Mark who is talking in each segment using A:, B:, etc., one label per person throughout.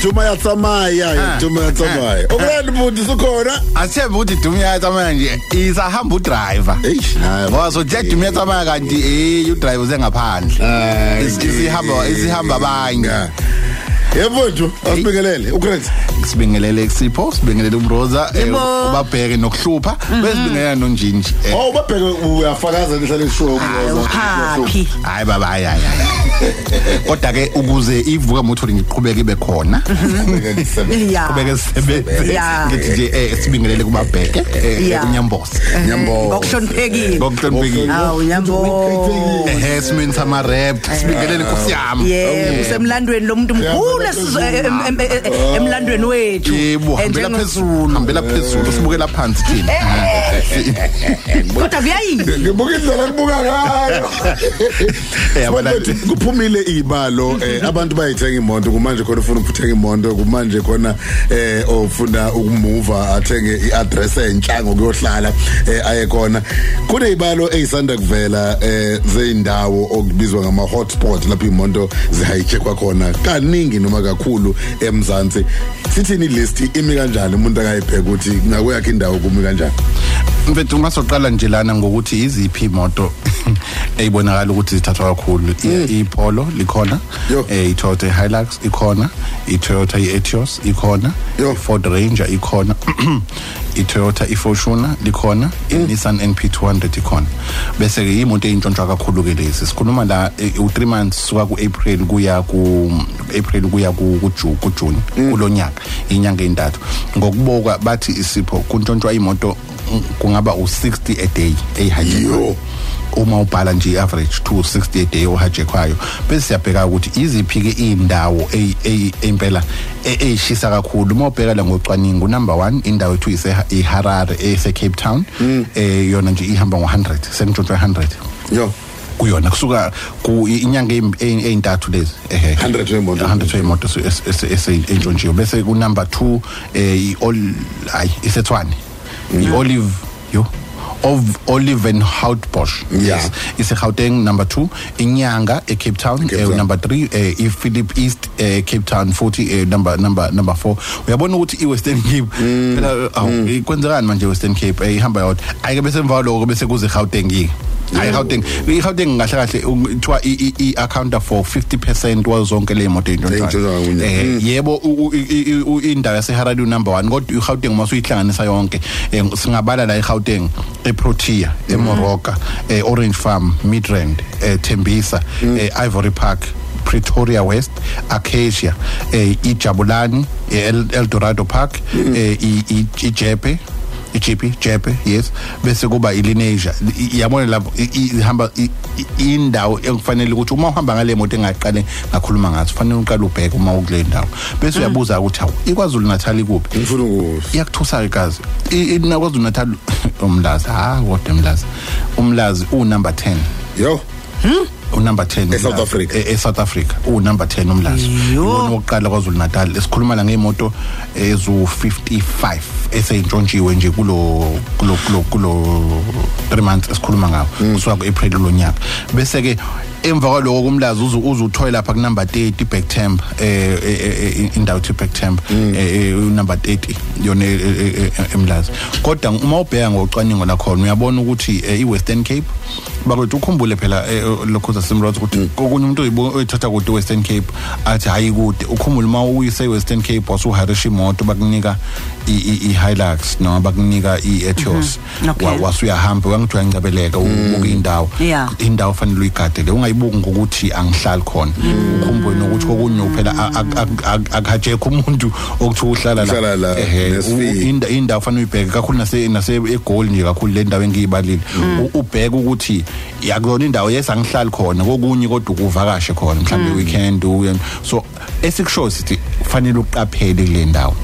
A: Duma ya tsamaya,
B: Ah,
A: Duma ya tsamaya. Ugrand buti sukhona.
B: asithembe ukuthi dumi yathamaya nje isahamba udriver
A: Eish, hayi.
B: ngoba so jack dumi yathamaya kanti eh udriver uzengaphandle
A: Ah, Hayi.
B: Is- isihamba isihamba
A: eh,
B: abanye
A: Yebo nje, asibingelele. Ugrand.
B: Eh. sibingelele sipho sibingelele umbroza eh,
A: Yebo.
B: ubabheke nokuhlupha
C: Mhm.
B: besibingelela nonjinji eh,
A: Oh babheke uyafakaza nihlale show
B: Ah,
C: Happy.
B: hayi baba hayi hayi hayi. kodwa ke ukuze ivuka motori ngiqhubeke ibe khona
C: Yeah.
B: qhubeke sisebenze
C: Ah. Yeah.
B: ngithi nje eh, sibingelele kubabheke eh,
C: Yeah.
B: unyamboza Oh.
A: Nyambo.
C: Ngokuhloniphekile.
B: ngokuhloniphekile
C: Awu nyambo.
B: ehe simini samarap sibingelele nkosi yami
C: Ah. Yeah, usemlandweni lomuntu mkhulu esizwe em- em- em- emlandweni wethu.
B: yebo
C: And
B: hambela
C: njengo-
B: phezulu Eh, hambela phezulu sibukela phansi thina
C: Kodwa kuyayiwa.
A: Ngibuka indlela ngibuka ngayo.
B: Eh, abala-
A: Mfowethu, kuphumile ibalo eh, abantu bayithenga imoto kumanje khona ufuna ukuthenga imoto kumanje khona eh ofuna ukumuva athenge iaddress entsha ngokuyohlala eh, aye khona kune ibalo eyisanda kuvela eh zeindawo okubizwa ngama hotspot lapho imoto zihijackwa khona kaningi noma kakhulu emzansi sithini list imi kanjani umuntu akayibheka ukuthi ngakweyakhe indawo kumi kanjani
B: mfethu ungasoqala nje lana ngokuthi iziphi imoto eyibonakala ukuthi zithathwa kakhulu I- ipolo likhona
A: Yo.
B: eh iToyota Hilux ikhona iToyota iEtios ikhona
A: Yo.
B: iFord Ranger ikhona iToyota iFortuner likhona iNissan NP200 ikhona bese ke imoto eyintshontshwa kakhulu ke lezi sikhuluma la eh, u3 months suka kuApril kuya ku April kuya ku kuJune kuJune kulonyaka inyanga entathu ngokuboka bathi isipho kuntshontshwa imoto mm, kungaba u60 a day eyihijackwayo
A: Yo.
B: uma ubhala nje average 260 a day ohijackwayo bese siyabheka ukuthi iziphi ke indawo empela eyishisa e-, kakhulu uma ubheka la ngocwaningo number 1 indawo ethu iseHarare ese Cape Town eh yona nje ihamba ngo100 sentshontshwa 100
A: yo
B: kuyona kusuka ku inyanga eyim- eyi- eyintathu lezi ehe
A: 100 wemoto.
B: 100 wemoto esentshontshwe bese ku number 2 eh i all ay isethwane i olive yo of Olivenhoutbosch
A: Yeah.
B: iseGauteng number 2 inyanga eCape Town
A: Cape
B: eh,
A: Town.
B: number 3 eh, iPhilip East eh, Cape Town futhi eh, number number number 4 uyabona ukuthi iWestern Cape
A: Mm.
B: phela awu ikwenzekani manje iWestern Cape eh, ihamba yodwa ayike bese emva lokho bese kuze iGauteng ke hayi Gauteng iGauteng kahle kahle um, kuthiwa iaccount for 50% wazonke le moto
A: Ey'ntshontshwa kunye.
B: eh yebo u- u- i- i- u- indawo yaseHaradu number 1 kodwa iGauteng mase uyihlanganisa yonke eh, singabala la eGauteng eProtea eMoroka eOrange Farm Midrand eh, eThembisa eIvory Park Pretoria West Acacia eh, iJabulani eh, El- Eldorado Park eh, i- i- iJepe iJepe Jepe yes bese kuba iLinesia yabona lapho i- i- ihamba i- i- indawo ekufanele ukuthi uma uhamba ngale moto engaqale ngakhuluma ngathi fanele uqale ubheke uma ukule ndawo bese uyabuza ukuthi awu iKwaZulu Natal ikuphi
A: ngifuna ukuzwa
B: iyakuthusa igazi inaKwaZulu Natal umlazi ha kodwa umlazi umlazi u number 10
A: yo
B: unumber 10
A: E-South
B: umlazi.
A: Africa.
B: e South Africa unumber 10 umlazi
C: Yo.
B: ubona oqala kwaZulu Natal esikhuluma la ngeemoto ezu 55 eseyintshontshiwe nje kulo kulo kulo kulo 3 months esikhuluma ngawo kusuka kuApril lonyaka bese ke emva kwaloko kumlazi uzu uzuthoya lapha kunumber 30 Backtemp eh eh, eh, eh, indawo ethi Backtemp eh number 30 yona eh, eh, eh, emlazi kodwa uma ubheka ngocwaningo lakhona uyabona ukuthi eh, iWestern Cape bakwethu ukhumbule phela eh, lokho sasimrotha ukuthi kokunye umuntu oyibo- oyithatha kude Western Cape athi hayi kude ukhumbule uma uyise Western Cape wasuharisha imoto bakunika i- i i Hilux noma bakunika i Etios
C: Mhm, okay.
B: Wa- wasuyahamba wangithi uyangcabeleka ubuka indawo
C: Yeah.
B: indawo fanele uyigadele ungayibuki ngokuthi angihlali khona ukhumbule nokuthi kokunye phela akuhajekho umuntu okuthi uhlala
A: Uhlala la,
B: Ehhe, u-
A: nesifiki.
B: inda- indawo fanele uyibheke kakhulu nase nase egoli nje kakhulu le ndawo engiyibalile U- ubheke ukuthi yakuzona indawo yesangihlali khona kokunye kodwa ukuvakashe khona mhlawumbe weekend uye so esikusho sithi kufanele uqaphele kule ndawo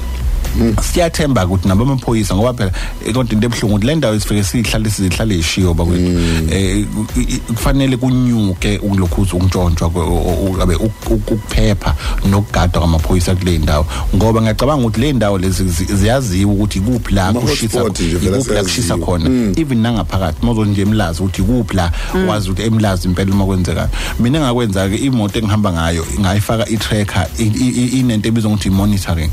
B: siyathemba ukuthi nabo amaphoyisa ngoba phela kodwa into ebuhlungu ukuthi le ndawo isifike sihlale sihlale ishiyo bakwethu
A: Mm.
B: eh ku- i- kufanele kunyuke ukulokhu ukuntshontshwa kwe- o- o- ngabe uk- uk- ukuphepha nokugadwa kwamaphoyisa kule ndawo ngoba ngiyacabanga ukuthi le ndawo lezi zi- ziyaziwa ukuthi kuphi la
A: Ama
B: kushisa
A: hotspot nje vele
B: kuphi la kushisa
A: siyaziwa.
B: khona even nangaphakathi mozo nje emlazi ukuthi kuphi la wazi ukuthi emlazi impela uma kwenzekayo mina engakwenza ke imoto engihamba ngayo ngayifaka i-tracker i- i- i- inento ebizwa ngokuthi monitoring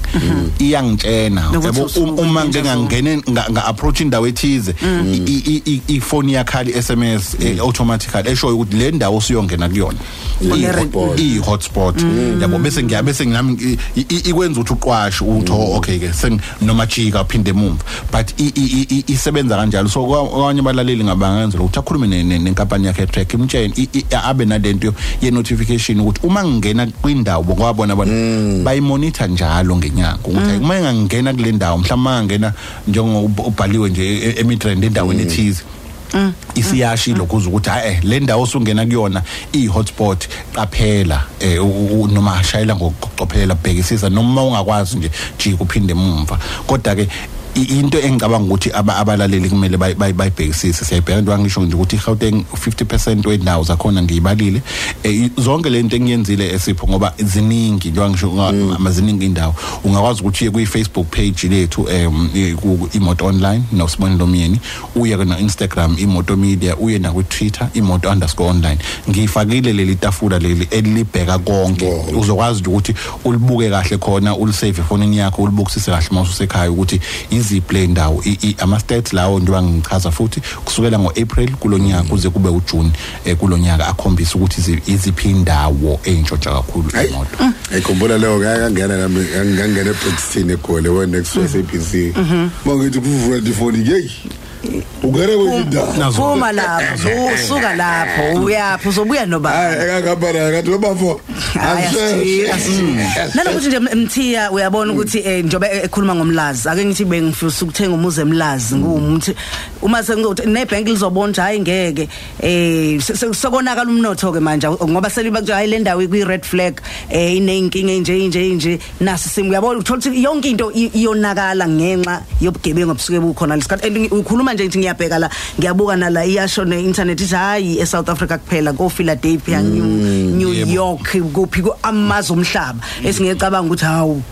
B: iyangitshena
C: Nokuthi
B: yabo
C: usuku
B: uma
C: into
B: ngingangene nga- nga-approach indawo ethize i- i- i- i- ifoni yakhali i-sms eh, automatically eshoyo ukuthi le ndawo osuyongena kuyona
A: Ine
B: I-
A: red ball.
B: iyi-hotspot yabo bese ngiya- bese nami i- i- i- ikwenza ukuthi uqwashe ukuthi oh, okay ke seng- noma jika uphinde emumva but i- i- i- i- isebenza kanjalo so kwa- kwabanye abalaleli ngabangenzela ukuthi akhulume ne- ne- nenkampani yakhe track imtshene i- i- abe nalento ye-notification ukuthi uma ngingena kwindawo kwabona bona bayimonitha njalo ngenyanga ukuthi hayi, uma engangena kule ndawo mhlawumbe angena njengoba ubhaliwe nje e- e- emidrand endaweni ethize Mm. isiyashilo kuze ukuthi hayi le ndawo osungena kuyona i-hotspot qaphela eh, u- u- noma shayela ngokucophelela bhekisisa noma ungakwazi nje jika uphinde emumva kodwa ke i- into engicabanga ukuthi aba- abalaleli kumele bayi- bayi- bayibhekisise siyayibheka nto angisho nje ukuthi i-gauteng 50 percent wendawo zakhona ngiyibalile Eh, i- zonke le nto engiyenzile esipho ngoba ziningi njengoba ngisho nga- ma- ziningi indawo ungakwazi ukuthi uye kwi-facebook page lethu um i- ku- imoto online nosibonelo myeni uye na-instagram imoto media uye nakwi-twitter imoto underscore online ngiyifakile leli tafula leli elibheka konke
A: Wow.
B: uzokwazi nje ukuthi ulibuke kahle khona ulisave efonini yakho ulibukisise kahle uma ususekhaya ukuthi iziphi le ndawo I- i- ama-stats lawo njengoba ngichaza futhi kusukela ngo-april kulo nyaka kuze kube ujune um kulo nyaka akhombise ukuthi izi- iziphi indawo eyintshontsha kakhulu
A: Hayi.
B: imoto
A: ayikhumbula leyo ngangena nami ngangena ebhokisini egoli wenext west abc mangithi kuvula ifoni yeyi ungena kwenye indawo
B: Nazo.
C: phuma lapho usuka lapho uyaphi uzobuya noba
A: hayi ekangabana kanti babafo
C: Hayi, Hmm.
A: Mm.
C: nanokuthi nje mthiya uyabona ukuthi eh, njengoba e- ekhuluma ngomlazi ake ngithi bengifisa ukuthenga umuzi emlazi nguwumuntu uma sengizothi nebhenki lizobona nje hayi ngeke um sekonakala umnotho-ke manje ngoba seliba kuthiwa hhayi le ndawo ikwi-red flag um iney'nkinga ey'nje inje inje nasi sim uyabona uthola ukuthi yonke into i- iyonakala ngenxa yobugebengu obusuke bukhona lesikhathi and ukhuluma nje ngithi ngiyabheka la ngiyabuka nala iyasho ne-inthanethi ithi hhayi e-south africa kuphela ko-philadelphia new new
B: yebo.
C: york kuphi amazwe omhlaba esingecabanga ukuthi hawu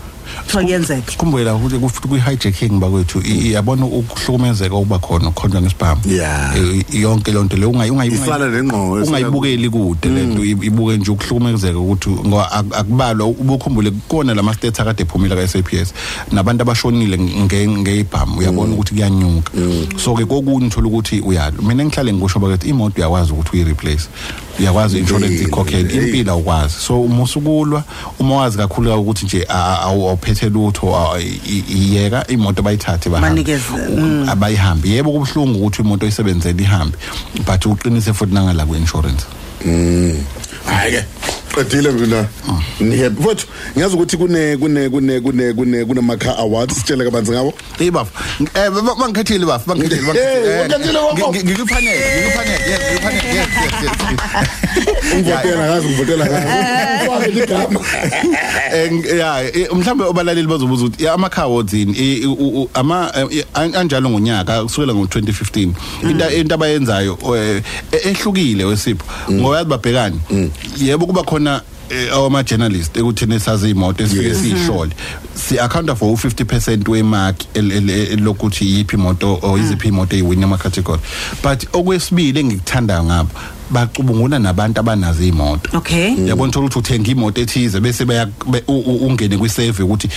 C: kuthiwa kuyenzeka
B: sikhumbule la ukuthi kufuthi kwi-hijacking bakwethu i- yabona ukuhlukumezeka ukuba khona ukukhonjwa ngesibhamu
A: Yeah.
B: Eh, yonke leyo nto leyo ungayi- ungayi-
A: Ifana
B: ungayi-
A: nengqondo Mm. esika-
B: ungayibukeli kude le nto i- ibuke nje ukuhlukumezeka ukuthi ngoba ak- akubalwa ubukhumbule kukona la ma-stats akade ephumile ka-saps nabantu abashonile nge- ngeyibhamu
A: Mm.
B: uyabona ukuthi kuyanyuka so-ke kokunye uthola ukuthi uyalo mina engihlale ngikusho bakethi imoto uyakwazi ukuthi uyi-replace uyakwazi i-insurance
A: Impilo,
B: ikhokhele
A: hey.
B: impilo awukwazi so uma usukulwa uma wazi kakhulu ka ukuthi nje a- a- awu- awuphethe lutho a- i- iyeka imoto bayithathe bahambe.
C: Banikeze,
B: U- abayihambi yebo kubuhlungu ukuthi imoto isebenzele ihambe but uqinise futhi nangala kwi-insurance
A: hayi ke qedile mina ngihappy futhi ngiyazi ukuthi kune kune kune kune kune kunama-car awards sitshele kabanzi ngawo
B: Eh bafu eh ba- ba- bangikhethile bafu bangikhethile
A: Hey, bangikhethile wabo.
B: ngikuphanele ngikuphanele yes ngikuphanele yes yes, yes yes
A: umvotela kazi umvotela kazi ufake ligama
B: Eh, ng- ya eh, mhlambe obalaleli bazobuza ukuthi ya, ama-car awards yini I- u- u- ama eh, an- anjalo ngonyaka kusukela ngo-2015 into into abayenzayo eh, eh, ehlukile wesipho ngoba yazi babhekani yebo kuba khona eh, awama-journalist ekutheni sazi iy'moto esifike siyihlole si-accounta for u-50 percent wemarki el- el- el- lokuthi yiphi imoto or yiziphi iy'moto ey'wini amacathory but okwesibili engikuthandayo ngabo bacubungula nabantu abanazo iy'moto
C: okay
B: yabona thola ukuthi uthenga imoto ethize bese baya- be- u- u- ungene kwi-survey ukuthi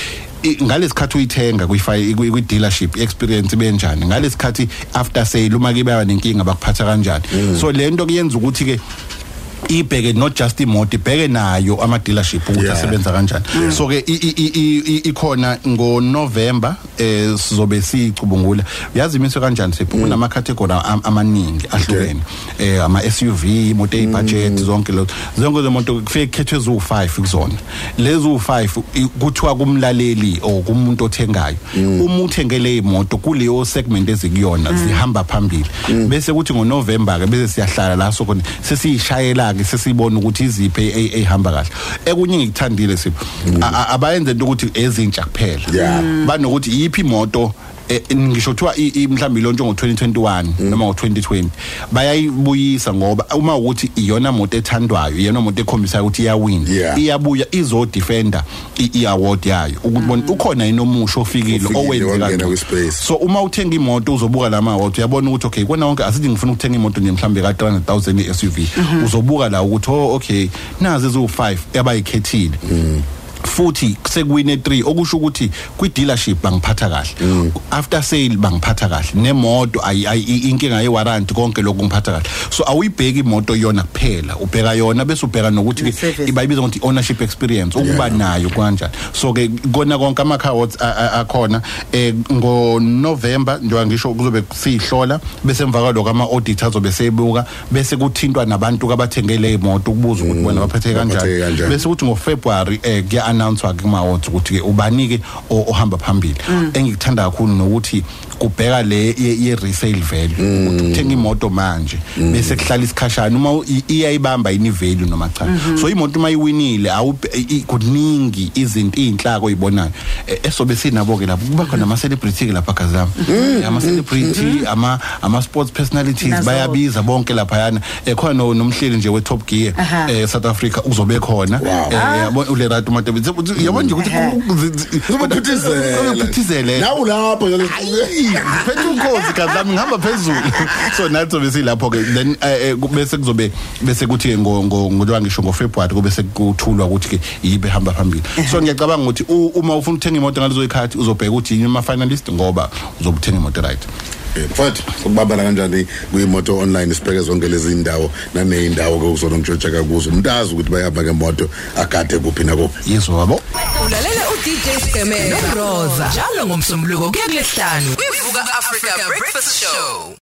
B: i- ngalesi khathi uyithenga kwi-fi- kwi- kwi-dealership i-experience ibe njani ngalesi khathi after sale uma ke baba nenkinga bakuphatha kanjani so le nto kuyenza ukuthi-ke ibheke not just imoto ibheke nayo ama-dealership ukuthi
A: Yeah.
B: asebenza kanjani so-ke i- i- i- i- i- ikhona ngonovemba um sizobe siyicubungula uyazi imiswe kanjani sephu
A: Mm.
B: kunama-category am- amaningi ahlukene um ama-suv imoto
A: Mm.
B: eyibhajethi zonke lo zonke zemoto kufike kukhethwe eziwu-five kuzona lezi u-five kuthiwa kumlaleli or kumuntu othengayo uma uthenge le moto kuleyo segment ezikuyona zihamba phambili bese kuthi ngonovemba-ke bese siyahlala la sokhona sesiyishayela-ke ke sesibona ukuthi iziphi eh, ehamba kahle ekunye ngikuthandile sipho A- a- abayenze into ukuthi ezintsha
A: Yeah.
B: kuphela banokuthi yiphi imoto eh, ngisho kuthiwa i- i- mhlawumbe lonto ngo-2021 noma ngo-2020 bayayibuyisa ngoba uma ukuthi iyona moto ethandwayo iyona moto ekhombisayo ukuthi iyawina
A: Yeah.
B: iyabuya izodefenda i- i-award yayo ukuthi bona ukhona yini omusha ofikile
A: Ofikile,
B: owenze
A: wangena
B: kangcono.
A: kwi-space.
B: so uma uthenga imoto uzobuka la ma-award uyabona ukuthi okay kona wonke asithi ngifuna ukuthenga imoto nje mhlawumbe ka-300 000 i-suv uzobuka la ukuthi oh okay nazi eziwu-five abayikhethile futhi sekuwine 3 okusho ukuthi kwi-dealership bangiphatha kahle after sale bangiphatha kahle nemoto ayi- ayi- i- inkinga yewaranti konke lokhu ngiphatha kahle so awuyibheki imoto yona kuphela ubheka yona bese ubheka nokuthi
C: Ne-service.
B: bayibiza ngokuthi ownership experience ukuba nayo kanjani so ke kona konke ama car awards a- a- akhona eh ngo November njengoba ngisho kuzobe sihlola bese emva kwaloko ama auditors obe sebuka bese kuthintwa nabantu abathengele imoto ukubuza ukuthi bona
A: baphethe
B: baphethe
A: kanjani.
B: kanjani bese ukuthi ngo February eh kuya announcewa ke kuma awards ukuthi ke ubani ke o- ohamba phambili
C: Mm.
B: engikuthanda kakhulu nokuthi kubheka le ye ye resale value
C: Mm.
B: ukuthi uthenga imoto manje bese kuhlala isikhashana uma u- i- iyayibamba yini value noma cha
C: Mm-hmm.
B: so imoto uma iwinile awubhe- i- i- kuningi izinto izinhlaka oyibonayo Eh, esobe sinabo ke lapho kuba khona
C: Mm.
B: ama celebrity ke lapha gazama ama celebrity ama ama sports personalities
C: Mm-hmm. Nazo.
B: bayabiza bonke lapha yana ekhona no- nomhleli nje we Top Gear
C: Aha.
B: eh South Africa uzobe khona
A: Wow.
B: eh yabo- ulerato matobe yabona nje ukuthi kuzophithizela
A: Nawu lapho
B: phethe ukhozi kazami ngihamba phezulu so nathi sobe silapho ke then eh, eh, ku- bese kuzobe bese kuthi ke ngo ngo- ngoba ngisho ngo February kube sekuthulwa ukuthi ke yibe hamba phambili so ngiyacabanga ukuthi u- uma ufuna ukuthenga imoto ngalezo ikhathi uzobheka ukuthi yini ama finalist ngoba uzobuthenga imoto right
A: Mfethu sokubambana kanjani kuyimoto online sibheke zonke lezi ndawo naneyindawo ke uzona ngijojeka kuzo umuntu azi ukuthi bayahamba ngemoto agade kuphi nakuphi
B: yizwa yabo
D: Ulalela uDJ Skemela noRosa njalo ngomsombuluko kuya kulesihlanu. Ivuka Africa Breakfast Show.